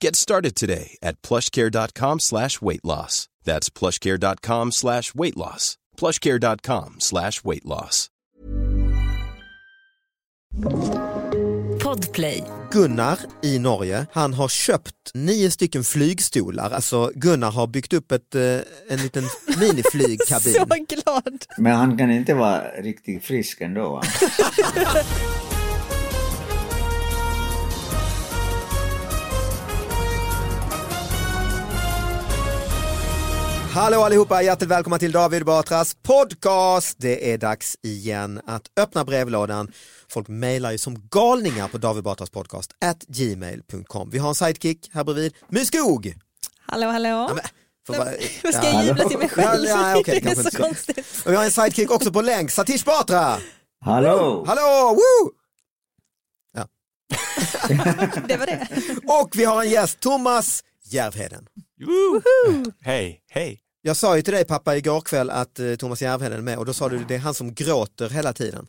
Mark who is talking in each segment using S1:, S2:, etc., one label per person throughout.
S1: Get started today at plushcare.com slash weight loss. That's plushcare.com slash weight loss. plushcare.com slash weight loss.
S2: Podplay.
S3: Gunnar i Norge, han har köpt nio stycken flygstolar. Alltså Gunnar har byggt upp ett, eh, en liten miniflygkabin.
S4: Så glad!
S5: Men han kan inte vara riktigt frisk ändå va?
S3: Hallå allihopa, hjärtligt välkomna till David Batras podcast. Det är dags igen att öppna brevlådan. Folk mejlar ju som galningar på David Batras podcast at gmail.com. Vi har en sidekick här bredvid, My Skog.
S4: Hallå, hallå.
S3: För vad-
S4: Vad ska jag
S5: Hallå.
S4: jubla till mig själv?
S3: Ja, ja, okej,
S4: det är
S3: kanske
S4: så
S3: inte.
S4: konstigt.
S3: Och vi har en sidekick också på länk, Satish Batra.
S5: Hallå!
S3: Hallå, woo!
S4: Det var det.
S3: Och vi har en gäst, Thomas Järvheden.
S6: Hej, hej.
S3: Jag sa ju till dig pappa igår kväll att eh, Thomas Järvheden är med och då sa du det är han som gråter hela tiden.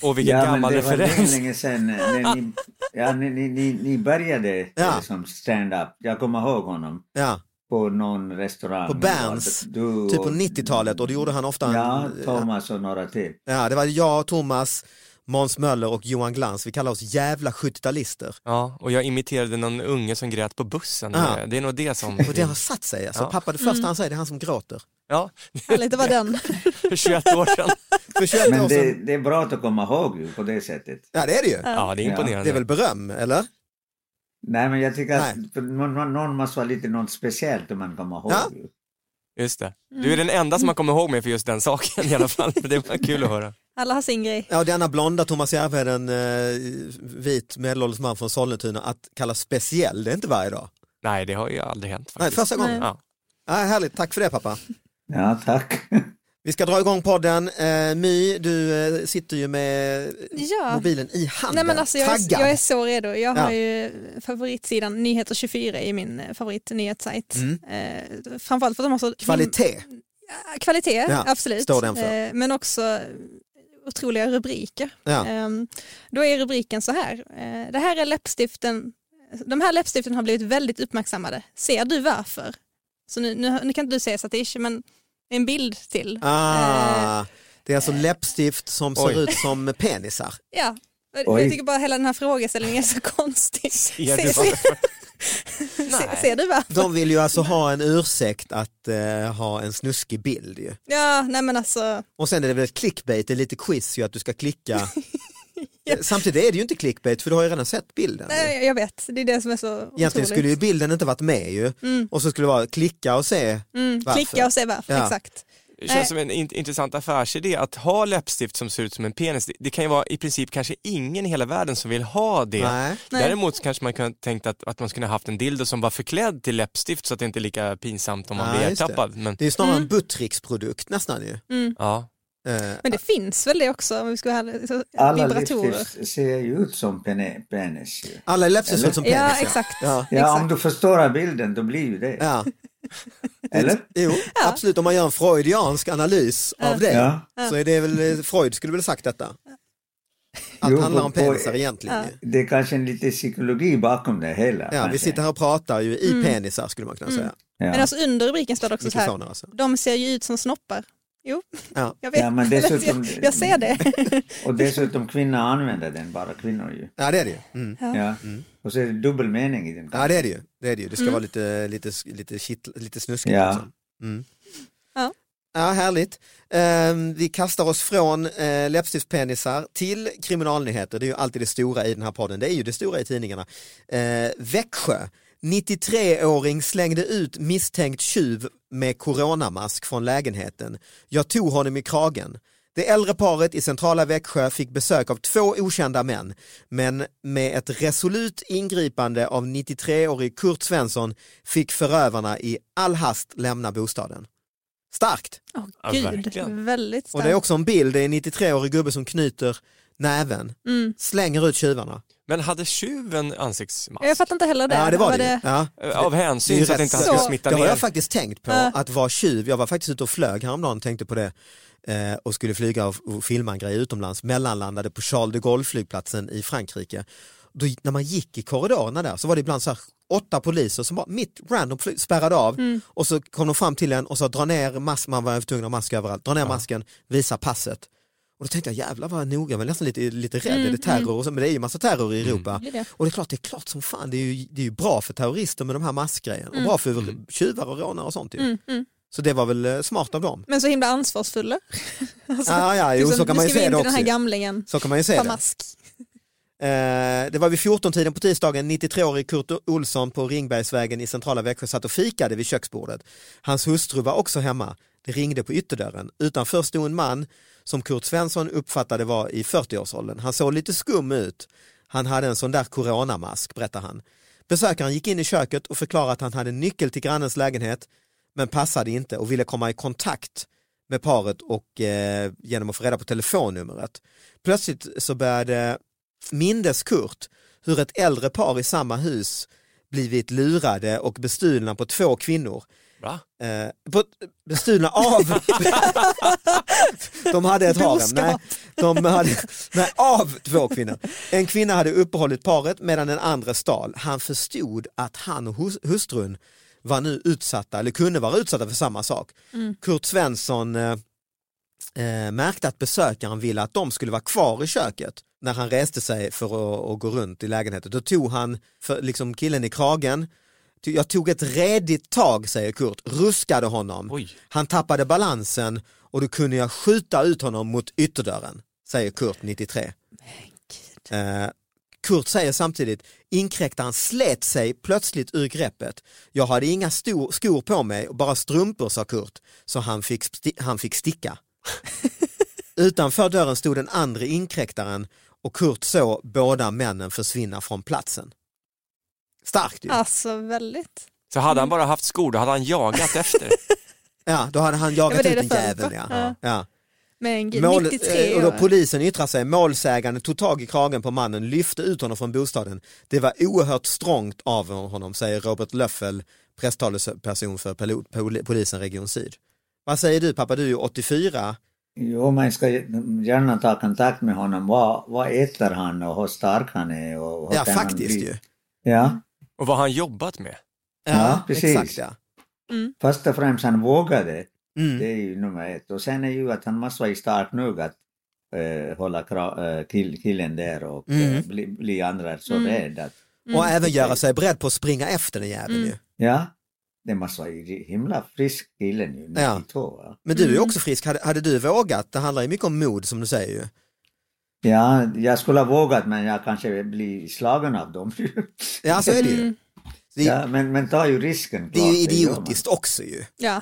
S6: Och vilken
S5: ja,
S6: gammal
S5: men det var länge,
S6: referens.
S5: länge sedan eh, när ni, ja, ni, ni, ni, ni började
S3: Ja.
S5: eh, som stand-up. Jag kommer ihåg honom
S3: Ja,
S5: på någon restaurang.
S3: På Berns,
S5: Du,
S3: typ på 90-talet och då gjorde han ofta en...
S5: Ja, Thomas och några till.
S3: Ja, det var jag, Thomas, Måns Möller och Johan Glans. Vi kallar oss jävla 70-talister.
S6: Ja, och jag imiterade någon unge som grät på bussen.
S3: Ja.
S6: Det är nog det som...
S3: Ah. Och det har satt sig. Alltså,
S6: Mm. Ja.
S3: Pappa, det första han säger det är han som gråter.
S6: Ja,
S4: Härligt, det var den.
S6: för 21 år sedan.
S3: För 21 år
S5: Men det,
S3: sedan.
S5: det är bra att komma ihåg ju på det sättet.
S3: Ja, det är det ju.
S6: Ja, det är
S5: Ja.
S6: imponerande.
S3: Det är väl beröm, eller?
S5: Nej, men jag tycker
S3: Nej.
S5: att för någon, någon- någon måste vara lite något speciellt om man kommer ihåg.
S3: Ja.
S5: ju.
S6: Just det. Du är
S3: Mm.
S6: den enda som har kommit ihåg mig för just den saken i alla fall. Det var kul att höra.
S4: Alla har sin grej.
S3: Ja, denna blonda Thomas Järvheden, eh, vit medelålders man från Sollentuna, att kalla speciell, det är inte varje dag.
S6: Nej, det har ju aldrig hänt
S3: Nej,
S6: faktiskt.
S3: första gången.
S6: Ja.
S3: Ja, härligt, tack för det pappa.
S5: Ja, tack.
S3: Vi ska dra igång podden. Eh, My, du eh, sitter ju med
S4: Ja.
S3: mobilen i handen,
S4: Nej, men alltså, jag, är,
S3: taggad.
S4: jag är så redo. Jag
S3: Ja.
S4: har ju favoritsidan Nyheter24 i min eh, favoritnyhetssajt.
S3: Mm.
S4: Eh, framförallt för att de har så...
S3: Kvalitet.
S4: Mm. Ja, Kvalitet,
S3: Ja,
S4: absolut.
S3: står den för.
S4: Eh, men också otroliga rubriker.
S3: Ja.
S4: Ehm, Då är rubriken så här. Eh, Det här är läppstiften. De här läppstiften har blivit väldigt uppmärksammade. Ser du varför? Så nu, nu, nu kan inte du säga Satish, men en bild till. Eh.
S3: Ah, det är alltså läppstift som ser
S6: Oj.
S3: ut som penisar.
S4: Ja.
S5: Oj.
S4: Jag tycker bara hela den här frågeställningen är så konstig.
S6: Ser du
S4: ser,
S6: varför?
S4: ser,
S6: Nej.
S4: ser du varför?
S3: De vill ju alltså ha en ursäkt att eh, ha en snuskig bild ju.
S4: Ja, nej men alltså.
S3: Och sen är det väl ett clickbait, det är lite quiz ju att du ska klicka. Eh, Samtidigt är det ju inte clickbait för du har ju redan sett bilden. ju.
S4: Nej, jag vet, det är det som är så
S3: Egentligen
S4: otroligt.
S3: skulle ju bilden inte varit med ju. Och så skulle det vara klicka och se.
S4: mm,
S3: Varför?
S4: klicka och se varför,
S3: Ja.
S4: exakt.
S6: Det känns som en in intressant affärsidé att ha läppstift som ser ut som en penis. Det, det kan ju vara i princip kanske ingen i hela världen som vill ha det.
S3: Nej.
S4: Nej.
S6: Däremot så kanske man kunde tänkt att, att man skulle ha haft en dildo som var förklädd till läppstift så att det inte är lika pinsamt om man
S3: Ja,
S6: blir
S3: just det.
S6: ertappad. Men,
S3: Det är ju snarare
S4: Mm.
S3: en Buttricks-produkt nästan ju.
S6: ja.
S3: Eh,
S4: Men det finns väl det också, om vi ska ha så-
S5: Alla
S4: vibratorer.
S5: livsstil ser ju ut som pene- penis. ju.
S3: Alla läppar ser ut som penisar.
S4: Ja, exakt.
S3: Ja.
S5: Ja,
S4: Exakt.
S5: om du förstår bilden, då blir ju det.
S3: Ja.
S5: Eller?
S3: Jo, absolut. Om man gör en freudiansk analys av det
S5: Ja.
S3: så är det väl, eh, Freud skulle väl ha sagt detta. Allt
S5: Jo,
S3: handlar
S5: på-
S3: om
S5: på-
S3: penisar egentligen. ju.
S5: Det är kanske en lite psykologi bakom det hela.
S3: Ja, vi
S5: kanske.
S3: sitter här och pratar ju i penisar skulle man kunna säga.
S4: Men
S5: Ja.
S4: alltså under rubriken står det också Mm. så
S3: Mycket
S4: här,
S3: sådana alltså.
S4: de ser ju ut som snoppar. Jo,
S3: Ja.
S4: jag vet.
S5: Ja, men dessutom-
S4: jag, jag ser det.
S5: Och dessutom kvinnor använder den, bara kvinnor ju.
S3: ja, det är det ju. Mm.
S5: Ja. Och så är det dubbel mening i den.
S3: Ja, det är det ju. Det, är det, ju. det ska
S4: Mm.
S3: vara lite, lite, lite, kitt, lite snuskigt.
S5: Ja.
S3: Liksom. Mm.
S4: Ja.
S3: Ja, härligt. Ehm, vi kastar oss från uh, läppstiftspenisar till kriminalnyheter. Det är ju alltid det stora i den här podden. Det är ju det stora i tidningarna. Uh, Växjö. 93-åring slängde ut misstänkt tjuv med coronamask från lägenheten. Jag tog honom i kragen. Det äldre paret i centrala Växjö fick besök av två okända män, men med ett resolut ingripande av 93-årig Kurt Svensson fick förövarna i all hast lämna bostaden. Starkt!
S4: Åh
S6: Ja,
S4: gud,
S6: verkligen.
S4: väldigt
S3: Och
S4: starkt.
S3: det är också en bild, det är en 93-årig gubbe som knyter näven,
S4: mm.
S3: slänger ut tjuvarna.
S6: Men hade tjuven ansiktsmask?
S4: Jag fattar inte heller det.
S3: Ja, det var det. ju.
S4: det...
S3: Ja.
S6: Eh, Av
S3: Det är
S6: hänsyn
S3: ju
S6: så att
S3: rätt
S6: inte
S3: så-
S6: han skulle smitta
S3: Det har
S6: ner.
S3: jag faktiskt tänkt på,
S4: Ja.
S3: att vara tjuv. Jag var faktiskt ute och flög häromdagen och tänkte på det eh, och skulle flyga och, och filma en grej utomlands, mellanlandade på Charles de Gaulle-flygplatsen i Frankrike. Då, när man gick i korridorerna där så var det ibland så här, åtta poliser som bara mitt random fly- spärrade av och så kom de fram till en och sa dra ner masken, man var tvungen att ha mask överallt, dra ner masken, visa passet. Och då tänkte jag jävlar vad noga, men nästan lite, lite rädd, är det terror? Och så, men det är ju massa terror i Europa.
S4: Mm, Det är det.
S3: Och det är klart, det är klart som fan, det är ju, det är ju bra för terrorister med de här maskgrejerna
S4: Mm.
S3: och bra för tjuvar och rånare och sånt ju. Så det var väl eh, smart av dem.
S4: Men så himla ansvarsfulla. alltså,
S3: Ja, ja, jo,
S4: liksom,
S3: så kan
S4: nu
S3: man ju
S4: ska vi
S3: se
S4: in
S3: det
S4: till den
S3: också.
S4: här
S3: ju.
S4: gamlingen,
S3: Så kan man ju se
S4: ta
S3: det.
S4: mask.
S3: Eh, det var vid 14-tiden på tisdagen, 93-årig Kurt Olsson på Ringbergsvägen i centrala Växjö satt och fikade vid köksbordet. Hans hustru var också hemma. Det ringde på ytterdörren. Utanför stod en man som Kurt Svensson uppfattade var i 40-årsåldern. Han såg lite skum ut. Han hade en sån där coronamask, berättar han. Besökaren gick in i köket och förklarade att han hade nyckel till grannens lägenhet men passade inte och ville komma i kontakt med paret och eh, genom att få reda på telefonnumret. Plötsligt så började mindes Kurt hur ett äldre par i samma hus blivit lurade och bestulna på två kvinnor.
S6: Va?
S3: Eh, på, bestulna av... de hade ett harem. Nej, de hade, nej, av två kvinnor. En kvinna hade uppehållit paret medan den andra stal. Han förstod att han och hus, hustrun var nu utsatta, eller kunde vara utsatta för samma sak. Kurt Svensson eh, eh, märkte att besökaren ville att de skulle vara kvar i köket när han reste sig för att, att gå runt i lägenheten. Då tog han för, liksom killen i kragen. Ty- Jag tog ett redigt tag, säger Kurt, ruskade honom.
S6: Oj.
S3: Han tappade balansen och då kunde jag skjuta ut honom mot ytterdörren, säger Kurt, 93. Eh, Kurt säger samtidigt, inkräktaren slet sig plötsligt ur greppet. Jag hade inga stor, skor på mig, bara strumpor, sa Kurt, så han fick, sti- han fick sticka. Utanför dörren stod den andra inkräktaren och Kurt såg båda männen försvinna från platsen. Starkt ju. Ja.
S4: Alltså väldigt.
S6: Så hade han bara haft skor, då hade han jagat efter.
S3: då hade han
S4: Ja,
S3: jagat
S4: men det är
S3: ut den
S4: det föll på.
S3: jäveln. Ja.
S4: Ja.
S3: Ja.
S4: Men gud,
S3: Mål,
S4: 93
S3: eh, och då
S4: år.
S3: polisen yttrar sig, målsäganden tog tag i kragen på mannen, lyfte ut honom från bostaden. Det var oerhört strångt av honom, säger Robert Löffel, presstalesperson för polo- poli- polisen Region Syd. Vad säger du pappa, du är ju 84.
S5: Jo, man ska gärna ta kontakt med honom. Vad, vad äter han och hur stark han är? Och hur
S3: Ja,
S5: kan han
S3: faktiskt
S5: bli?
S3: ju. Mm.
S5: Ja,
S6: Och vad har han jobbat med?
S3: Ja,
S5: Ja, precis.
S3: Exakt, ja.
S5: först och främst han vågade.
S3: Mm.
S5: Det är ju nummer ett. Och sen är ju att han måste vara stark nog att eh, hålla kra- eh, kill, killen där och
S3: Mm.
S5: eh, bli, bli andra så rädd. Att,
S3: Och även
S4: Mm.
S3: göra sig beredd på att springa efter den jäveln ju.
S5: ja, det måste vara ju himla frisk killen ju, 92.
S3: Ja.
S5: va?
S3: Men du är ju
S4: Mm.
S3: också frisk, hade, hade du vågat? Det handlar ju mycket om mod som du säger ju.
S5: Ja, jag skulle ha vågat men jag kanske blir slagen av dem.
S3: Ja, så är det ju.
S4: Mm,
S3: Det,
S5: ja, men, men ta ju risken.
S3: det är ju
S5: klart, Mm. det gör man.
S3: idiotiskt också ju.
S4: Ja,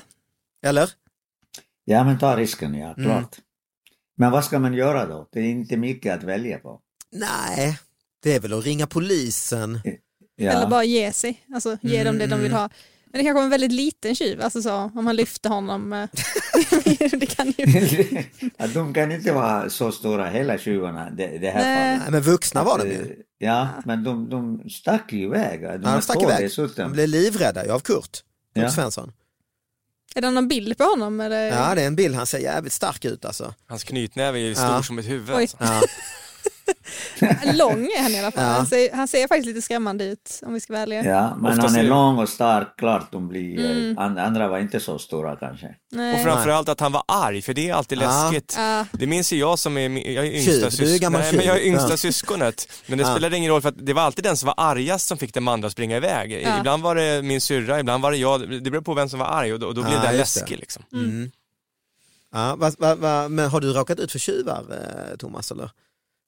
S3: Eller?
S5: Ja, men ta risken, ja,
S3: Mm.
S5: klart. Men vad ska man göra då? Det är inte mycket att välja på.
S3: Nej, det är väl att ringa polisen.
S5: Ja.
S4: eller bara ge sig. Alltså ge dem det de vill
S3: Mm.
S4: ha. Men det kanske var en väldigt liten tjuv, alltså så, om han lyfte honom. eh, det kan ju...
S5: ja, de kan inte vara så stora hela tjuvarna det, det här
S4: Nej.
S5: fallet.
S3: Nej, men vuxna var de ju.
S5: Eh, Ja, men de, de stack ju iväg. De
S3: Ja,
S5: var
S3: de stack
S5: två
S3: iväg.
S5: Dessutom.
S3: De blev livrädda ju av Kurt, Kurt
S5: Ja.
S3: Svensson.
S4: Är det någon bild på honom? Eller?
S3: Ja, det är en bild, han ser jävligt stark ut alltså.
S6: Hans knytnäve är ju stor
S3: Ja.
S6: som ett huvud.
S4: Oj.
S6: Alltså.
S3: Ja.
S4: Lång är han i alla fall.
S3: Ja.
S4: Han, ser, han ser faktiskt lite skrämmande ut om vi ska vara ärliga.
S5: Ja, men
S6: Ofta
S5: han
S6: ser
S5: är
S6: vi-
S5: lång och stark, klart de blir... eh,
S4: Mm.
S5: and- Andra var inte så stora kanske.
S6: Och
S4: Nej.
S6: framförallt att han var arg, för det är alltid
S3: Ja.
S6: läskigt.
S4: Ja.
S6: Det minns ju jag som är, min- jag är yngsta,
S3: Tjuv, du är
S6: sys-
S3: gammal
S6: Nej, men jag är
S3: tjuv.
S6: yngsta
S3: Ja.
S6: syskonet. Men det
S3: Ja.
S6: spelade ingen roll för att det var alltid den som var argast som fick den andra att springa iväg.
S4: Ja.
S6: Ibland var det min syrra, ibland var det jag. Det beror på vem som var arg och då, och då
S3: Ja,
S6: blev den
S3: just det.
S6: läskig liksom.
S3: Mm. Ja, vad- vad- vad- men har du råkat ut för tjuvar, eh, Thomas? Eller?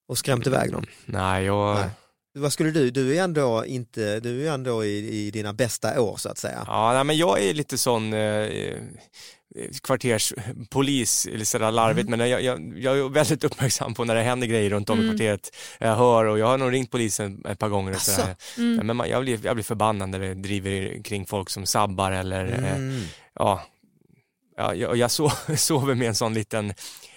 S3: Och skrämt iväg dem?
S6: Nej, jag...
S3: Nej. Vad skulle du, du är ju ändå, inte, du är ju ändå i, i dina bästa år så att säga.
S6: Ja, nej, men jag är lite sån eh, eh, kvarterspolis, eller sådär larvigt,
S3: Mm.
S6: men jag, jag, jag är väldigt uppmärksam på när det händer grejer runt om i kvarteret. Jag hör och jag har nog ringt polisen ett par gånger.
S3: Alltså,
S6: Och sådär.
S3: mm.
S6: Ja, men man, jag, blir, jag blir förbannad när det driver kring folk som sabbar eller eh,
S3: Mm.
S6: ja, ja, jag, jag so sover med en sån liten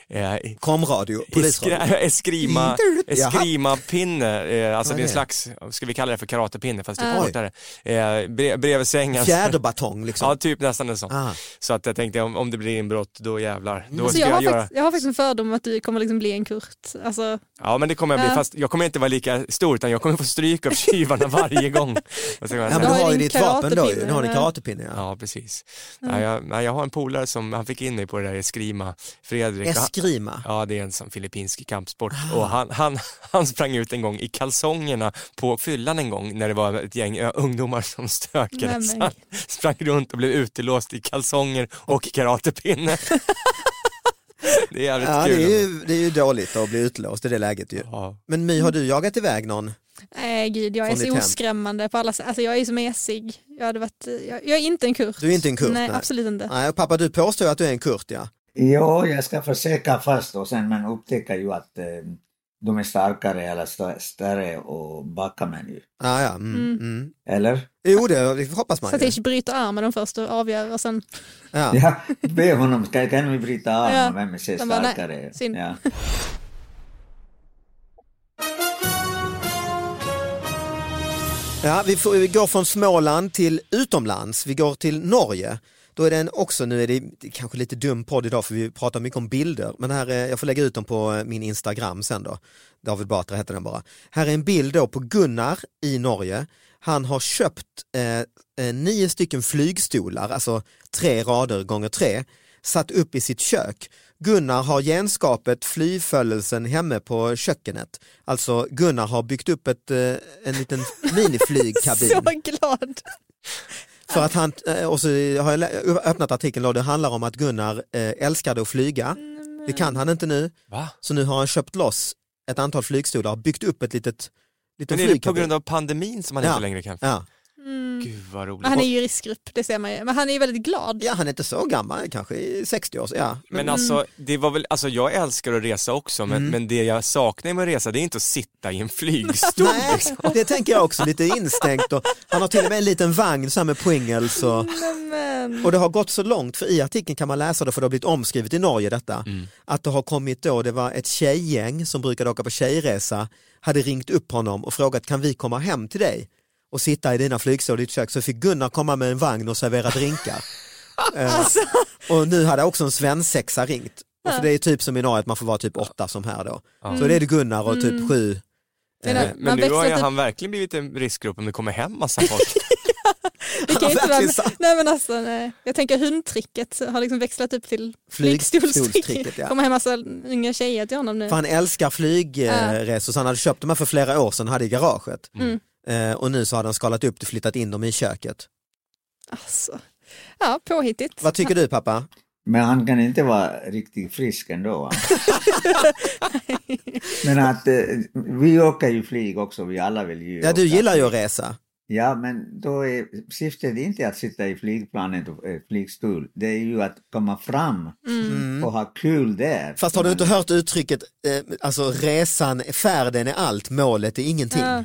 S6: eh,
S3: Komradio, polisradio.
S6: Eskra- Eskrima,
S3: Mm. Jaha.
S6: eskrimapinne, eh, alltså
S3: Vad
S6: det är
S3: är
S6: en
S3: det?
S6: slags, ska vi kalla det för karatepinne fast lite
S3: Oj.
S6: kortare, eh, bre- bredvid sängen.
S3: Fjäderbatong liksom.
S6: Ja, typ nästan en sån.
S3: Ah.
S6: Så att jag tänkte om, om det blir inbrott, då jävlar. Då
S4: Alltså,
S6: ska
S4: jag,
S6: jag,
S4: har
S6: göra...
S4: faktiskt, jag har faktiskt en fördom att du kommer liksom bli en Kurt. Alltså,
S6: Ja, men det kommer jag bli.
S4: Ja.
S6: Fast jag kommer inte vara lika stor, utan jag kommer få stryk av tjuvarna varje gång. Vad ska man
S3: Ja, men
S6: säga?
S3: du har ju
S4: din
S3: ditt vapen då ju,
S4: karatepinne,
S3: du har din
S4: eller?
S3: karatepinne. Ja.
S6: Ja, precis.
S4: Mm.
S6: Ja, jag, nej, jag har en polare som, han fick in mig på det där eskrima, Fredrik. Och han-
S3: Eskrima.
S6: Ja, det är en sån filippinsk kampsport.
S4: Ah.
S6: Och han, han, han sprang ut en gång i kalsongerna på fyllan en gång när det var ett gäng ö, ungdomar som
S4: Nej,
S6: stökade.
S4: men-
S6: Så han sprang runt och blev utelåst i kalsonger och karatepinne. det är jävligt
S3: Ja, det
S6: kul.
S3: är, ju, det är ju dåligt att bli utlåst i det läget ju.
S6: Ja. Mm.
S3: Men My, har du jagat iväg någon?
S4: nej gud, jag är
S3: Från ditt
S4: så
S3: hem.
S4: oskrämmande på alla sätt. Alltså, jag är ju så mesig. Jag, hade varit, jag, jag är inte en Kurt.
S3: Du är inte en Kurt,
S4: Nej,
S3: nej.
S4: absolut inte.
S3: Nej, och pappa du påstår ju att du är en kurt ja.
S5: Jo, jag ska försöka först och sen man upptäcker ju att eh, de är starkare eller stö- större och backar man ju.
S3: Ah, ja mm, mm.
S5: Eller?
S3: Jo det det hoppas man ju.
S4: Satish bryter armen dem först och avgör och sen,
S3: Ja.
S5: Ja, be honom, ska, kan vi bryta armen,
S4: Ja.
S5: vem ser
S4: De bara, nej,
S5: starkare?
S4: synd.
S5: Ja.
S3: Ja, vi, får, vi går från Småland till utomlands, vi går till Norge. Då är den också, nu är det det är kanske lite dum podd idag för vi pratar mycket om bilder, men här, är- jag får lägga ut dem på eh, min Instagram sen då. David Batra heter den bara. Här är en bild då på Gunnar i Norge. Han har köpt eh, eh, nio stycken flygstolar, alltså tre rader gånger tre, satt upp i sitt kök. Gunnar har genskapet flyföljelsen hemme på kökenet. Alltså Gunnar har byggt upp ett, eh, en liten
S4: så
S3: miniflygkabin.
S4: glad.
S3: För att han, eh, och så har jag lä- öppnat artikeln då, det handlar om att Gunnar eh, älskade att flyga. Det kan han inte nu,
S6: Va?
S3: så nu har han köpt loss ett antal flygstolar och byggt upp ett litet liten
S6: Men är det på
S3: flygkabin.
S6: grund av pandemin som han
S3: Ja.
S6: inte längre kan...
S3: Ja.
S6: Gud vad roligt.
S4: Han är ju i riskgrupp, det ser man ju. Men han är ju väldigt glad.
S3: ja, han är inte så gammal, kanske i 60 år. Ja.
S6: Men alltså, det var väl, alltså, jag älskar att resa också, men,
S3: Mm.
S6: men det jag saknar med att resa det är inte att sitta i en flygstol.
S3: Nej, det tänker jag också, lite instängt. Och han har till och med en liten vagn så här med pringels. Och,
S4: Men, eh,
S3: och det har gått så långt, för i artikeln kan man läsa det, för det har blivit omskrivet i Norge detta, att det har kommit då, det var ett tjejgäng som brukade åka på tjejresa, hade ringt upp honom och frågat kan vi komma hem till dig och sitta i dina flygstol i ditt kök? Så fick Gunnar komma med en vagn och servera drinkar. Eh, Och nu hade också en svensexa ringt. Och för det är typ som i Norge att man får vara typ åtta som här då. Så det är det Gunnar och typ sju
S4: men,
S6: Men, men
S4: man
S6: nu har
S4: växlar
S6: ju
S4: typ
S6: han verkligen blivit en riskgrupp om det kommer hem massa folk.
S4: Det kan
S3: har
S4: ju inte vara...
S3: verkligen sagt-
S4: typ- Nej men alltså, nej. jag tänker hundtricket har liksom växlat upp till flygstolstricket.
S3: Flygstolstricket, ja.
S4: Kommer hem massa unga tjejer till honom nu.
S3: För han älskar flygresor så han hade köpt dem här för flera år sedan, hade i garaget.
S4: Mm.
S3: Eh, och nu så hade han skalat upp det och flyttat in dem i köket.
S4: Alltså. Ja, påhittigt.
S3: Vad tycker du pappa?
S5: Men han kan inte vara riktigt frisk ändå. va? men att eh, vi åker ju flyg också, vi alla vill ju
S3: Ja,
S5: åka.
S3: du gillar ju att resa.
S5: Ja, men då är syftet inte att sitta i flygplanet och eh, flygstol. Det är ju att komma fram och ha kul där.
S3: Fast har du inte hört uttrycket, eh, alltså resan, färden är allt, målet är ingenting.
S4: Ja.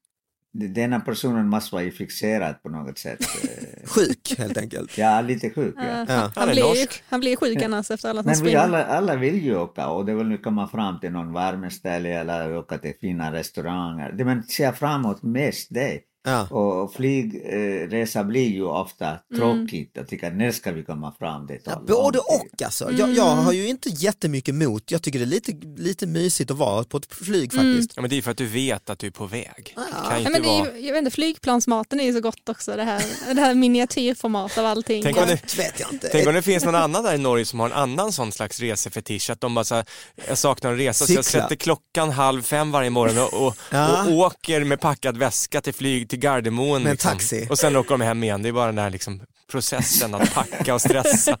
S5: denna personen måste vara ju fixerad på något sätt. Eh,
S3: Sjuk helt enkelt.
S5: ja, lite sjuk. Ja.
S3: Ja.
S6: Han
S4: Han,
S6: är
S4: blir, ju-
S6: norsk.
S4: han blir sjuk annars efter alla som
S5: Men vi
S4: springer.
S5: alla, alla vill ju åka och det vill nu komma fram till någon värmeställe eller åka till fina restauranger. Det man ser framåt mest det.
S3: Ja.
S5: Och flygresa blir ju ofta tråkigt och tycker när ska vi komma fram? Det tar
S3: Ja,
S5: lång
S3: både
S5: tid.
S3: och alltså. Jag, jag
S4: Mm.
S3: har ju inte jättemycket emot, jag tycker det är lite, lite mysigt att vara på ett flyg
S4: Mm.
S3: faktiskt.
S6: Ja, men det är för att du vet att du är på väg. Det kan ju
S4: Nej,
S6: inte
S4: men det
S6: vara...
S4: är, ju- jag vet inte, flygplansmaten är ju så gott också, det här, det här miniatyrformat av allting.
S6: Tänk om det,
S3: Vet jag inte.
S6: Tänk om det finns någon annan där i Norge som har en annan sån slags resefetisch, att de bara så här, jag saknar en resa så jag
S3: Cykla.
S6: sätter klockan halv fem varje morgon och, och,
S3: Ja.
S6: och åker med packad väska till flyg till Gardermoen. liksom.
S3: Med en taxi.
S6: Och sen åker de hem igen, det är bara den där liksom processen att packa och stressa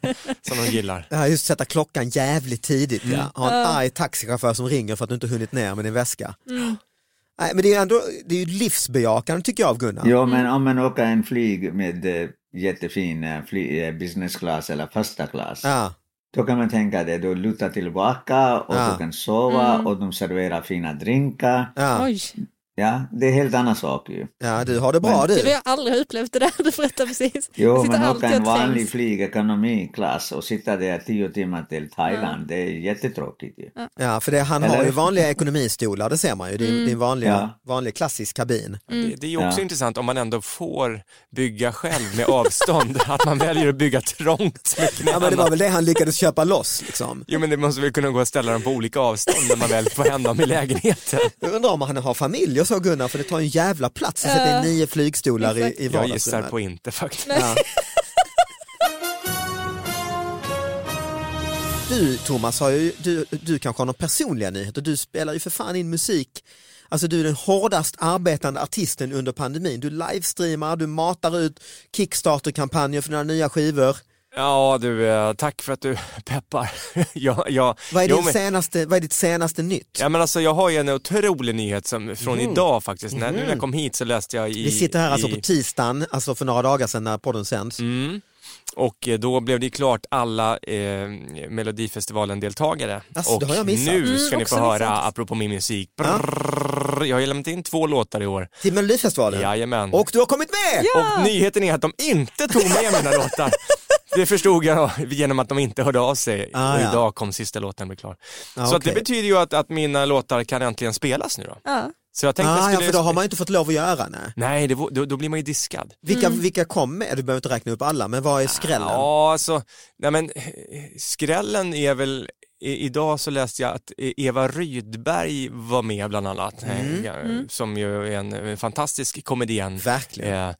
S6: som de gillar.
S3: Ja, just sätta klockan jävligt tidigt ja. Ha en arg taxichaufför som ringer för att du inte hunnit ner med din väska. Nej men det är ju ändå, det är ju livsbejakande tycker jag av Gunnar.
S5: Ja, men om man åker en flyg med eh, jättefin eh, fly, eh, business class eller första klass,
S3: Ja.
S5: då kan man tänka det, du lutar tillbaka och
S3: Ja.
S5: du kan sova
S3: Mm.
S5: och de serverar fina drinkar.
S3: Ja.
S4: Oj,
S5: Ja, det är helt annan sak ju.
S3: ja, du har det bra
S4: det har
S3: du.
S4: jag aldrig upplevt det där du berättar precis.
S5: Jo,
S4: jag sitter
S5: men
S4: alltid
S5: åka en
S4: och
S5: vanlig
S4: trängs.
S5: flygekonomiklass och sitta där tio timmar till Thailand, det är jättetråkigt ju.
S3: Ja, för det, han har
S5: Eller?
S3: ju vanliga ekonomistolar, det ser man ju. Det är, det är en vanlig,
S5: Ja.
S3: vanlig klassisk kabin.
S4: Mm.
S6: Det, det är ju också
S5: Ja.
S6: intressant om man ändå får bygga själv med avstånd, att man väljer att bygga trångt med knäna.
S3: Ja, men det var väl det han lyckades köpa loss liksom.
S6: Jo men det måste väl kunna gå att ställa dem på olika avstånd när man väl får hem dem i lägenheten.
S3: Jag undrar om han har familj och så Gunnar, för det tar ju en jävla plats. Jag sätter in nio flygstolar i, i
S6: Jag gissar
S3: vardagsrummet.
S6: på inte faktiskt.
S3: Ja. Du Thomas, har ju, du, du kanske har några personliga nyheter. Du spelar ju för fan in musik. Alltså du är den hårdast arbetande artisten under pandemin. Du livestreamar, du matar ut Kickstarter-kampanjer för dina nya skivor.
S6: Ja du, eh, tack för att du peppar. jag, jag,
S3: Vad är,
S6: jo,
S3: din
S6: men-
S3: senaste, vad är ditt senaste nytt?
S6: Ja, men alltså, jag har ju en otrolig nyhet som, från idag faktiskt. När, nu när jag kom hit så läste jag i...
S3: Mm. Vi sitter här alltså
S6: i, Mm.
S3: på tisdagen, alltså för några dagar sedan när podden sänds.
S6: Och eh, då blev det ju klart alla eh, Melodifestivalen-deltagare.
S3: Alltså,
S6: och
S3: det har jag missat.
S6: nu ska
S4: Mm,
S6: ni få
S4: också
S6: höra,
S4: missat.
S6: apropå min musik, Brrrr. jag har ju lämnat in två låtar i år.
S3: Till Melodifestivalen.
S6: Jajamän.
S3: Och du har kommit med!
S6: Och nyheten är att de inte tog med mina låtar. Det förstod jag genom att de inte hörde av sig.
S3: Ah,
S6: och
S3: ja.
S6: idag kom sista låten bli klar.
S3: Ah,
S6: så att det
S3: okej.
S6: betyder ju att, att mina låtar kan äntligen spelas nu då.
S4: Ja.
S6: Så jag tänkte
S3: Ah,
S6: jag
S3: ja,
S6: skulle...
S3: för då har man ju inte fått lov att göra. Nej.
S6: Nej, det, vore- då, då blir man ju diskad.
S3: Vilka, vilka kom med? Du behöver inte räkna upp alla, men vad är skrällen?
S6: Mm. Ja, alltså, nej men eh, skrällen är väl, i, idag så läste jag att E- Eva Rydberg var med bland annat, eh,
S3: Mm.
S6: ja, som ju är en, en fantastisk komedian.
S3: Verkligen.
S6: Eh,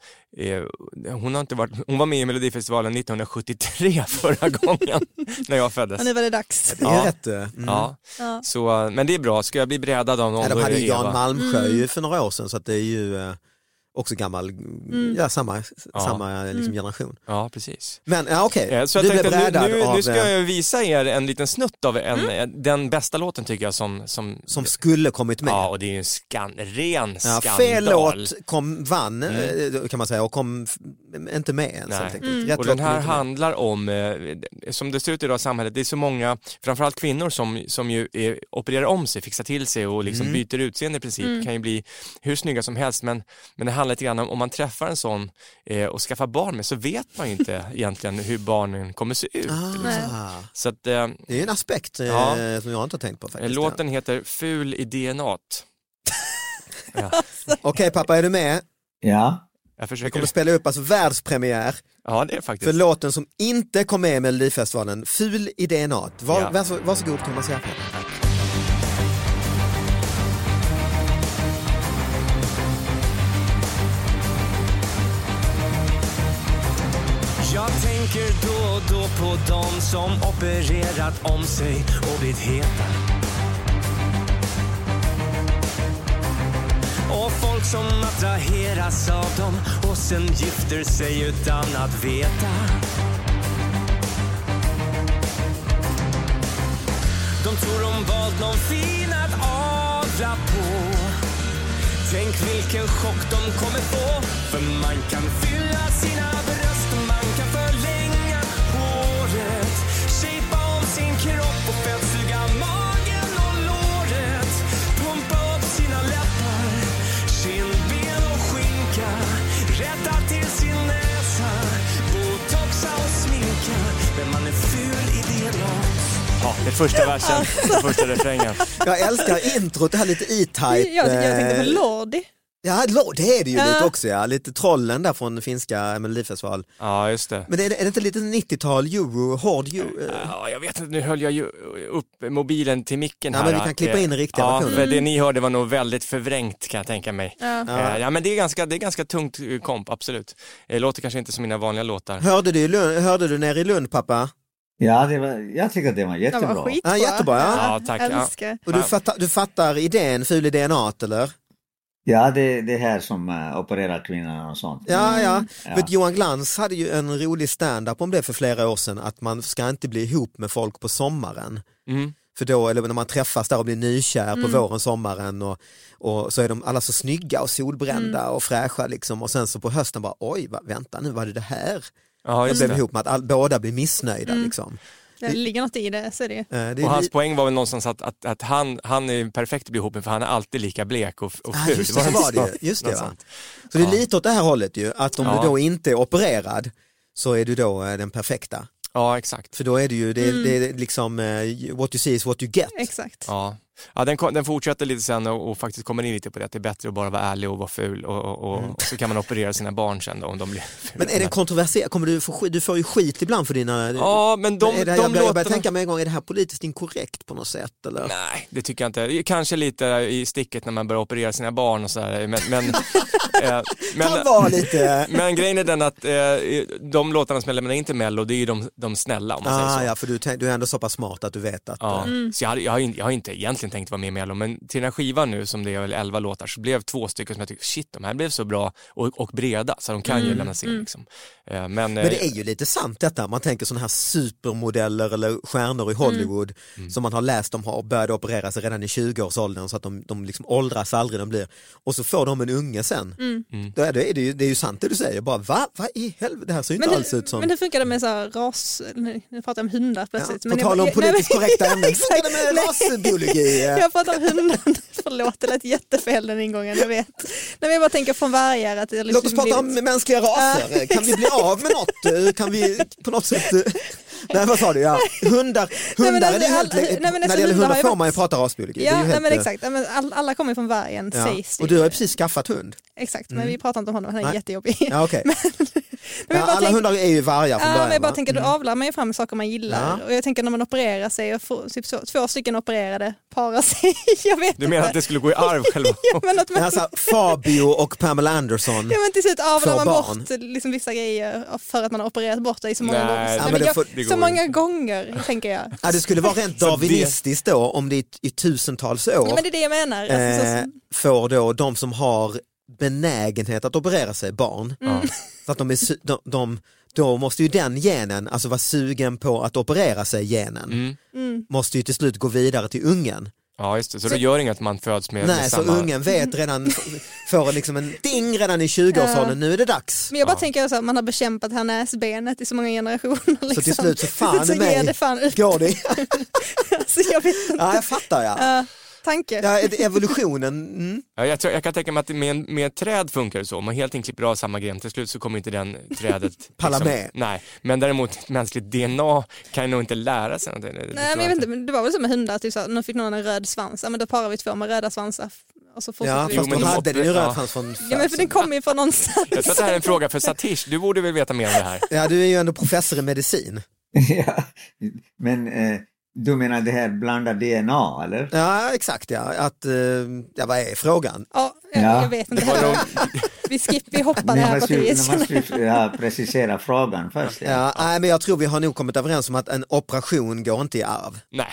S6: eh, hon, har inte varit, hon var med i Melodifestivalen 1973 förra gången när jag föddes.
S4: Och nu var det dags.
S3: Det är
S6: Ja.
S3: rätt. eh, Mm.
S6: Ja,
S4: Ja.
S6: så, eh, men det är bra, ska jag bli brädad av någon
S3: Nej, de
S6: då är
S3: hade
S6: det
S3: ju
S6: Eva.
S3: Jan Malmsjö ju för några år sedan så att det är ju eh, också gammal, mm, ja samma, samma eh, liksom, generation.
S6: Ja, precis.
S3: Men ja, okej,
S6: Eh, Så jag
S3: du blev
S6: tänkte att
S3: brädad
S6: nu, nu,
S3: av Mm.
S6: nu ska
S3: eh,
S6: jag visa er en liten snutt av en, eh, den bästa låten tycker jag som, som,
S3: som skulle kommit med.
S6: Ja, och det är ju en skan, ren
S3: Ja,
S6: skandal. Mm.
S3: fel låt kom, vann eh, kan man säga och kom f- inte med ens
S6: Nej.
S3: helt enkelt. Rätt
S6: Och den
S3: låt kom
S6: här
S3: inte med.
S6: handlar om, eh, som det ser ut idag i samhället, det är så många, framförallt kvinnor som, som ju eh, opererar om sig, fixar till sig och liksom
S3: Mm.
S6: byter utseende i princip, kan ju bli hur snygga som helst men, men det handlar lite grann om, om man träffar en sån eh, och skaffar barn med så vet man ju inte egentligen hur barnen kommer se ut. Liksom.
S3: Ah,
S6: Så att, eh,
S3: det är ju en aspekt eh,
S6: Ja.
S3: som jag inte har tänkt på faktiskt.
S6: låten heter Ful i DNA. -t.
S3: Okej pappa, är du med?
S5: Ja,
S6: Jag
S3: Vi kommer
S6: försöker...
S3: att spela upp alltså världspremiär
S6: Ja, det är
S3: för
S6: faktiskt.
S3: låten som inte kom med i Melodifestivalen, Ful i DNA. Var,
S6: Ja.
S3: vars, varsågod Thomas Järvheden.
S7: Jag tänker då och då på dem som opererat om sig och blivit heta. Och folk som attraheras av dem och sen gifter sig utan att veta. De tror de valt någon fin att adla på. Tänk vilken chock de kommer få För man kan fylla sina bröst Man kan förlänga håret Shapea om sin kropp och fettsugga magen och låret Pumpa upp sina läppar Kindben och skinka Rätta till sin näsa Botoxa och sminka Men man är ful i DNA
S6: Ja, det är första versen, det är första refrängen.
S3: Jag älskar introt, det här lite E-Type.
S4: Jag, jag tänkte på
S3: eh,
S4: Lordi.
S3: Ja, lo- det är det ju
S4: Ja.
S3: lite också ja. Lite trollen där från finska Melodifestival.
S6: Ja, just det.
S3: Men är det, är det inte lite 90-tal euro, hård euro?
S6: Ja, jag vet inte, nu höll jag ju upp mobilen till micken
S3: Ja,
S6: här.
S3: men vi kan
S6: att
S3: klippa
S6: det-
S3: in den riktiga
S6: Ja,
S3: versionen.
S6: för det ni hörde var nog väldigt förvrängt kan jag tänka mig.
S4: Ja.
S6: Eh, Ja, men det är ganska, det är ganska tungt eh, komp, absolut. Eh, Låter kanske inte som mina vanliga låtar.
S3: Hörde, du, i Lund- hörde du nere i Lund pappa?
S5: Ja, det var, jag tycker det var
S4: Den var
S5: jättebra.
S4: skitbra.
S3: Ja, jättebra, ja.
S6: Ja, tack, ja.
S4: Älskar.
S3: Och du,
S6: Ja.
S3: fattar, du fattar idén, ful i DNA eller?
S5: Ja, det, det här som eh, opererar kvinnan och sånt.
S3: Ja, ja.
S5: Ja.
S3: Vet, Johan Glans hade ju en rolig stand-up om det för flera år sedan, att man ska inte bli ihop med folk på sommaren.
S6: Mm.
S3: För då, eller när man träffas där och blir nykär på våren, sommaren och, och så är de alla så snygga och solbrända och fräscha liksom och sen så på hösten bara oj, va, vänta nu vad är det här?
S6: Ja,
S3: Jag
S6: just
S3: blev
S6: det.
S3: ihop med att all, båda blir missnöjda liksom.
S4: Det ligger något i det, så är det ju.
S3: Eh, det är
S6: Och hans
S3: li-
S6: poäng var väl någonstans att, att, att han, han är perfekt att bli ihop med för han är alltid lika blek och, och
S3: Ah,
S6: ful.
S3: just det, så
S6: inte
S3: var det ju. Just det,
S6: Något
S3: va?
S6: sånt.
S3: Så det är
S6: Ja.
S3: lite åt det här hållet ju, att om
S6: Ja.
S3: du då inte är opererad så är du då eh, den perfekta.
S6: Ja, exakt.
S3: För då är det ju, det, är- det är liksom eh, what you see is what you get.
S4: Exakt.
S6: Ja, ja den, kom- den fortsätter lite sen och, och faktiskt kommer in lite på det att det är bättre att bara vara ärlig och vara ful och, och, och,
S3: Mm.
S6: och så kan man operera sina barn sen då om de blir fula.
S3: Men är det kontroversiellt? Kommer du, få, skit- du får ju skit ibland för dina...
S6: Ja, men de,
S3: är det här,
S6: de
S3: jag börjar- jag börjar
S6: låtarna-
S3: tänka med en gång, är det här politiskt inkorrekt på något sätt? Eller?
S6: Nej, det tycker jag inte. Kanske lite i sticket när man börjar operera sina barn och sådär. Men, men, eh,
S3: kan
S6: men,
S3: vara lite...
S6: men grejen är den att eh, de låtarna som jag lämnar in till Mello, det är ju de, de snälla om man säger
S3: Ah,
S6: så.
S3: ja, för du, tänk- du är ändå så pass smart att du vet att...
S6: Ja,
S3: eh,
S6: så jag, hade, jag, har, ju- jag har inte egentligen tänkt vara med i Mello, men till den här skivan nu som det är väl 11 låtar så blev två stycken som jag tyckte, shit de här blev så bra och, och breda så de kan ju lämnas in liksom. Eh, Men,
S3: Mm, Men det är ju lite sant detta, man tänker sådana här supermodeller eller stjärnor i
S4: Mm.
S3: Hollywood som man har läst om har börjat operera sig redan i 20-årsåldern så att de, de liksom åldras aldrig de blir och så får de en unge sen.
S4: Mm.
S3: Då är det, är det, ju, det är ju sant det du säger, bara va, vad i helvete, det här ser ju inte
S4: Men,
S3: alls ut
S4: hur,
S3: som...
S4: men hur funkar det med så här ras, nu nu pratar jag om hundar plötsligt.
S3: Ja,
S4: men
S3: på
S4: jag-
S3: tal om
S4: jag-
S3: politiskt
S4: nej, men-
S3: korrekta ämnen, hur funkar
S4: exakt.
S3: det med
S4: Nej.
S3: rasbiologi?
S4: Jag pratar om hundar, förlåt det lät jättefel den ingången, jag vet. Nej, men jag bara tänker från vargar att det
S3: Låt oss prata om
S4: blivit-
S3: mänskliga raser,
S4: liksom Ja,
S3: kan vi bli av med något? Eh, Kan vi på något sätt... Nej vad sa du, ja. hundar, hundar
S4: alltså,
S3: är det helt...
S4: all- nej, men
S3: när
S4: alltså,
S3: det gäller
S4: hundar har
S3: hundar
S4: ju
S3: får
S4: varit-
S3: man ju prata rasbiologi. det är
S4: Ja,
S3: ju
S4: nej,
S3: helt,
S4: men
S3: eh,
S4: exakt. Ja, men all- alla kommer från vargen
S3: Ja.
S4: sägs det
S3: Och
S4: ju.
S3: du har ju precis skaffat hund.
S4: Exakt, men vi pratar inte om honom, han är
S3: Nej.
S4: jättejobbig.
S3: Ja, okej.
S4: Men
S3: Ja,
S4: jag bara
S3: alla
S4: tänker-
S3: hundar är ju vargar från
S4: Ja,
S3: början.
S4: men jag bara
S3: va? Mm.
S4: tänker, då avlar man ju fram saker man gillar.
S3: Ja.
S4: Och jag tänker när man opererar sig, och får, typ så, två stycken opererade parar sig. jag vet
S6: Du menar att
S4: inte.
S6: det skulle gå i arv själva?
S4: ja, men att man,
S3: Alltså, Fabio och Pamela Anderson.
S4: ja, men till slut avlar man
S3: Får barn.
S4: bort liksom, vissa grejer för att man har opererat bort det i så många
S6: Nej,
S4: gånger.
S6: ja,
S4: Så,
S3: men
S4: det
S3: det
S4: går-
S3: får-
S6: det
S4: så
S6: går
S4: många
S6: inte.
S4: gånger, tänker jag.
S3: Ja, det skulle vara rent
S6: Så det-
S3: darwinistiskt då om det i, i tusentals år
S4: Ja, men det är det jag menar. Alltså, så,
S3: eh, får då de som har benägenhet att operera sig
S4: Mm.
S3: barn. Så att de är, su- de, de, då måste ju den genen, alltså vara sugen på att operera sig genen,
S4: Mm.
S3: måste ju till slut gå vidare till ungen.
S6: Ja, just det. Så, det gör inget att man föds med,
S3: Nej,
S6: med
S3: så
S6: samma...
S3: ungen vet redan, får liksom en ding redan i 20-årsåldern, nu är det dags.
S4: men jag bara tänker så här, man har bekämpat det här näsbenet i så många generationer. Liksom.
S3: Så till slut så fan
S4: så
S3: i mig
S4: ger det fan ut.
S3: går det.
S4: Alltså, jag vet inte.
S3: Ja jag fattar ja.
S4: Tanke.
S3: ja är det evolutionen, mm.
S6: Ja, jag, tror, jag kan tänka mig att det med, med träd funkar det så. Om man helt enkelt klipper av samma gren, till slut så kommer inte den trädet... liksom-
S3: Palla med.
S6: Nej, men däremot ett mänskligt DNA kan ju nog inte lära sig någonting. Det- det tror
S4: Nej men jag vet
S6: inte.
S4: inte, men det var väl som med hundar, typ såhär, nu fick någon en röd svans, ja men då parar vi två med röda svansar. Och så
S3: Ja,
S4: fortsätter vi.
S3: fast
S6: men
S3: hon
S6: de
S3: hade
S6: måste-
S3: den ju
S6: ja.
S3: röd tand från
S4: Ja, men för den kommer ju från någonstans.
S6: Jag tror att det här är en fråga för Satish. Du borde väl veta mer om det här?
S3: Ja, du är ju ändå professor i medicin.
S5: ja. Men eh, du menar det här blanda DNA, eller?
S3: Ja, exakt ja. Att, eh, ja vad är frågan?
S4: Ja, jag,
S5: Ja.
S4: jag vet inte. Vi, skip, vi hoppar det
S5: Nu
S4: här
S5: måste vi,
S4: partiet.
S5: nu måste vi ja, precisera frågan först. Ja.
S3: Ja, nej, men jag tror vi har nog kommit överens om att en operation går inte i arv.
S6: Nej.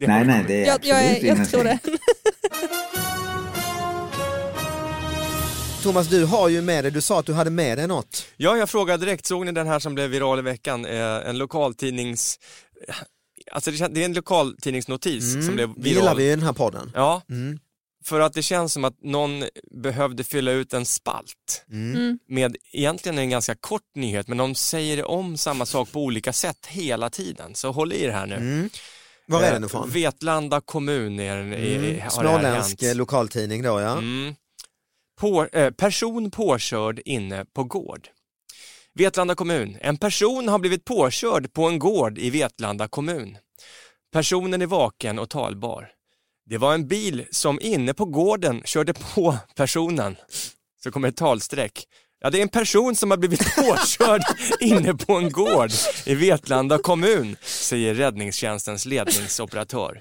S6: Det
S5: Nej, nej, det är
S4: Jag,
S5: absolut
S4: jag, är- jag
S5: ingenting.
S4: tror det.
S3: Thomas, du har ju med dig, du sa att du hade med dig något.
S6: Ja, jag frågade direkt, såg ni den här som blev viral i veckan? Eh, en lokaltidnings... Alltså det, kän- det är en lokaltidningsnotis som blev
S3: Mm, Det gillar
S6: viral.
S3: vi ju i den här podden.
S6: Ja,
S3: Mm.
S6: för att det känns som att någon behövde fylla ut en spalt
S4: Mm.
S6: med egentligen en ganska kort nyhet, men de säger om samma sak på olika sätt hela tiden. Så håll i det här nu.
S3: Mm. Var är
S6: Eh,
S3: den ifrån?
S6: Vetlanda kommun är den, i- i-
S3: Mm.
S6: har det här
S3: Småländsk eh,
S6: hänt.
S3: lokaltidning då ja.
S6: Mm. På, eh, person påkörd inne på gård. Vetlanda kommun. En person har blivit påkörd på en gård i Vetlanda kommun. Personen är vaken och talbar. Det var en bil som inne på gården körde på personen. Så kommer ett talstreck. Ja, det är en person som har blivit påkörd inne på en gård i Vetlanda kommun, säger räddningstjänstens ledningsoperatör.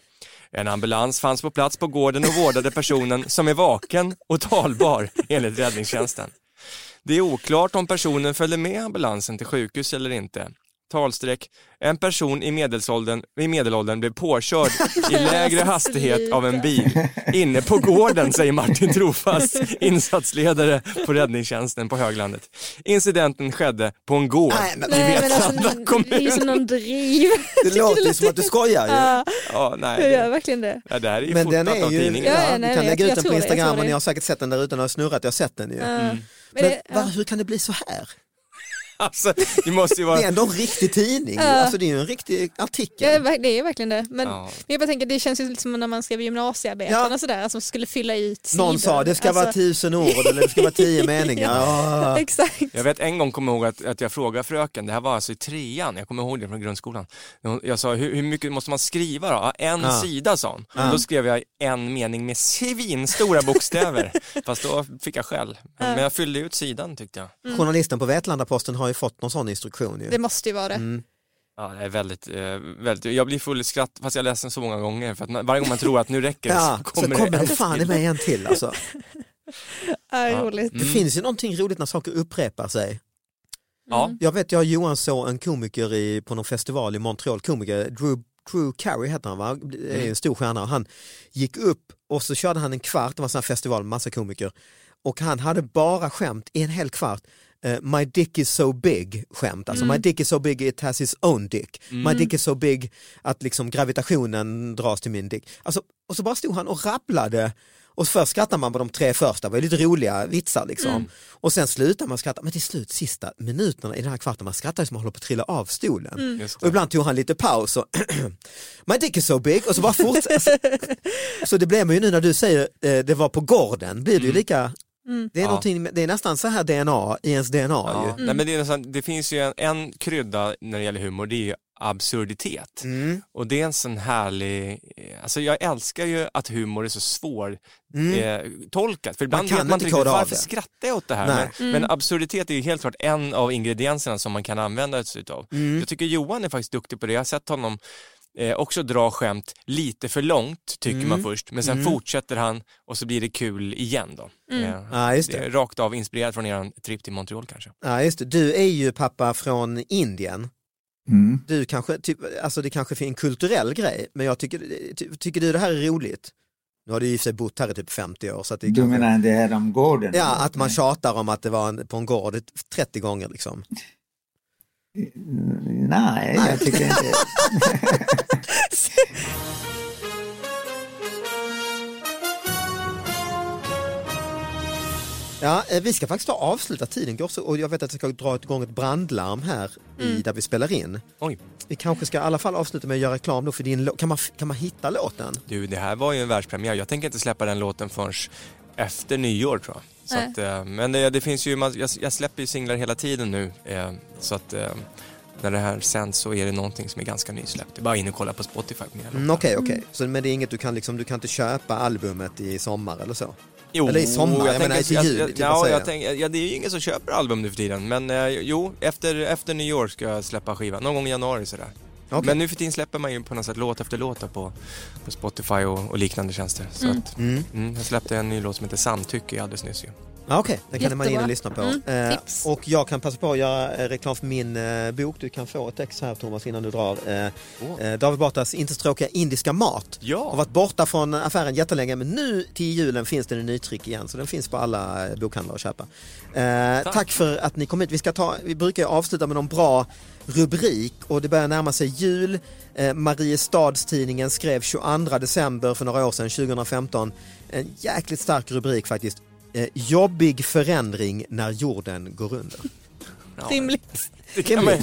S6: En ambulans fanns på plats på gården och vårdade personen som är vaken och talbar enligt räddningstjänsten. Det är oklart om personen följde med ambulansen till sjukhus eller inte. Talstreck. En person i medelåldern, i medelåldern blev påkörd i lägre hastighet av en bil inne på gården, säger Martin Trofast, insatsledare på räddningstjänsten på Höglandet. Incidenten skedde på en gård.
S3: Nej, men,
S8: Nej, men
S6: Vetlanda
S8: alltså, det är ju
S6: kommun.
S8: som någon driv.
S3: det låter ju som att du skojar ju.
S8: Ja,
S6: Ja, nej,
S8: jag gör
S6: det,
S8: verkligen det.
S6: ja, det här är ju
S3: Men den
S6: fotat
S3: är
S6: av
S3: ju,
S6: tidningen.
S8: Ja,
S3: ja,
S8: ja,
S3: du
S8: nej,
S3: kan
S8: jag-
S3: lägga
S8: jag
S3: ut den på
S8: tror det, jag
S3: Instagram
S8: tror
S3: och
S8: det.
S3: ni har säkert sett den där utan att ha snurrat, jag har sett den ju.
S8: Ja. Men
S3: Men
S8: det,
S3: va,
S8: ja.
S3: hur kan det bli så här?
S6: Alltså, det måste ju
S3: Det
S6: vara...
S3: är ändå en riktig tidning, alltså det är ju en riktig
S4: Ja, det är
S3: artikel.
S4: verk- det är verkligen det. Men,
S6: Ja.
S4: men jag bara tänker, det känns ju lite som när man skrev gymnasiearbeten
S3: Ja.
S4: och sådär, alltså skulle fylla ut sidor.
S3: Någon sa det ska
S4: Alltså,
S3: vara tusen ord eller det ska vara tio meningar. Ja.
S4: Exakt.
S6: Jag vet en gång kommer jag ihåg att, att jag frågade fröken, det här var alltså i trean, jag kommer ihåg det från grundskolan. Hon- Jag sa, hur, hur mycket måste man skriva då? Ja, en
S3: Ja.
S6: sida sa hon. Då skrev jag en mening med svinstora bokstäver. Fast då fick jag skäll. Men jag fyllde ut sidan tyckte jag.
S3: Journalisten på Vetlandaposten har ju fått någon sån instruktion ju.
S4: Det måste ju vara det.
S3: Mm.
S6: Ja, det är väldigt, eh, väldigt, jag blir full i skratt fast jag läser den så många gånger. För att man, varje gång man tror att nu räcker det
S3: Ja,
S6: så
S3: så kommer
S6: en
S3: det fan i
S6: till.
S3: mig en till alltså.
S4: Ja, roligt.
S3: Det finns ju någonting roligt när saker upprepar sig.
S6: Ja,
S3: Jag vet, jag och Johan såg en komiker i, på någon festival i Montreal, komiker, Drew, Drew Carey heter han va? Det är en stor stjärna. Och Han gick upp och så körde han en kvart, det var en sån här festival med massa komiker. Och han hade bara skämt i en hel kvart. eh, my dick is so big skämt, alltså my dick is so big it has his own dick. My dick is so big att liksom gravitationen dras till min dick. Alltså, och så bara stod han och rabblade och först skrattar man på de tre första, det var ju lite roliga vitsar liksom.
S6: Mm.
S3: Och sen slutar man skratta, men till slut sista minuterna i den här kvarten, man skrattar ju som man håller på att trilla av stolen.
S6: just
S3: Och
S6: det.
S3: ibland tog han lite paus och My dick is so big och så bara fortsätter. så det blev man ju nu när du säger eh, det var på gården, blir det ju lika Det, är
S6: Mm. Ja.
S3: någonting, med- det är nästan så här DNA i ens DNA
S6: Ja.
S3: ju.
S6: Nej, men det, är nästan, det finns ju en, en krydda när det gäller humor, det är ju absurditet.
S3: Mm.
S6: Och det är en sån härlig, eh, alltså jag älskar ju att humor är så svår
S3: Mm.
S6: eh, tolkat. För ibland
S3: kan
S6: vet man
S3: inte
S6: inte riktigt
S3: koda av
S6: varför
S3: det.
S6: skrattar jag åt det här? Men,
S3: Nej.
S6: men absurditet är ju helt klart en av ingredienserna som man kan använda sig utav.
S3: Mm.
S6: Jag tycker Johan är faktiskt duktig på det. Jag har sett honom eh, också dra skämt lite för långt tycker
S3: Mm.
S6: man först men sen fortsätter han och så blir det kul igen då. Eh,
S3: Ja, just
S6: det
S3: det.
S6: är rakt av inspirerad från er trip till Montreal kanske.
S3: Ja, just det. Du är ju pappa från Indien.
S5: Mm.
S3: Du kanske, typ, alltså det kanske är en kulturell grej, men jag tycker, ty, tycker du det här är roligt? Nu har du ju i och för sig bott här i typ 50 år. Så att det
S5: Du
S3: kanske,
S5: menar det här om gården?
S3: Ja, att man tjatar om att det var en, på en gård 30 gånger liksom.
S5: Mm, Nej, jag tycker inte...
S3: Ja, eh, vi ska faktiskt ta och avsluta tiden går så, och jag vet att jag ska dra igång ett brandlarm här i, där vi spelar in.
S6: Oj.
S3: Vi kanske ska i alla fall avsluta med att göra reklam då för din låt. Kan man, kan man hitta låten?
S6: Du, det här var ju en världspremiär. Jag tänker inte släppa den låten förrän efter nyår tror jag. Så
S4: Nej.
S6: att, eh, men det, det finns ju, man- jag, jag släpper ju singlar hela tiden nu. eh, Så att eh, när det här sänds så är det någonting som är ganska nysläppt. Det är bara in och kolla på Spotify på mina
S3: Mm,
S6: låtar.
S3: Okej, okej. Så Men det är inget du kan liksom, du kan inte köpa albumet i sommar eller så?
S6: Jo,
S3: Eller i sommar, jag
S6: tänker
S3: menar
S6: att-
S3: i juli,
S6: jag-
S3: typ, vad
S6: Ja,
S3: säger
S6: jag
S3: jag?
S6: tänker, ja, det är ju ingen som köper album nu för tiden, men eh, jo, efter, efter nyår ska jag släppa skivan, någon gång i januari sådär.
S3: Okej.
S6: Men nu för tiden släpper man ju på något sätt låt efter låt där på, på Spotify och, och liknande tjänster. Så att,
S3: Mm.
S6: mm, jag släppte en ny låt som heter Samtycke alldeles nyss ju.
S3: Ja, Okej, den kan man in
S4: Jättebra.
S3: och lyssna på.
S4: Mm,
S3: Eh,
S4: tips.
S3: och jag kan passa på att göra eh, reklam för min eh, bok. Du kan få ett ex här Thomas innan du drar. Eh,
S6: Åh.
S3: eh, David Batras Inte stråkiga indiska mat.
S6: Ja.
S3: Har varit borta från affären jättelänge men nu till julen finns den i nytryck igen så den finns på alla eh, bokhandlar att köpa. Eh, tack. för att ni kom hit. Vi, ska ta, vi brukar ju avsluta med någon bra rubrik och det börjar närma sig jul. Eh, Mariestadstidningen skrev 22 december för några år sedan, 2015, en jäkligt stark rubrik faktiskt. Eh, jobbig förändring när jorden går under.
S6: Ja,
S4: Rimligt.
S6: det kan man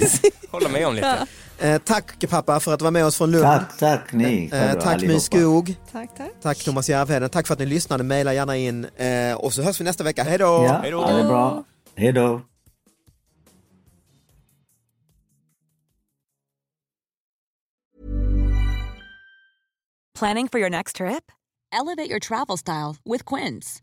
S6: hålla med om lite.
S3: Eh, tack pappa för att du var med oss från Lund.
S5: Tack, tack ni.
S3: Eh,
S5: hörru,
S3: tack My
S5: allihopa.
S3: Skog.
S4: Tack, tack.
S3: Tack Thomas Järvheden. Tack för att ni lyssnade. Maila gärna in. Eh, och så hörs vi nästa vecka. Hej då!
S5: Ja,
S6: Hej då.
S5: ha det bra. Hej då.
S9: Planning for your next trip? Elevate your travel style with Quince.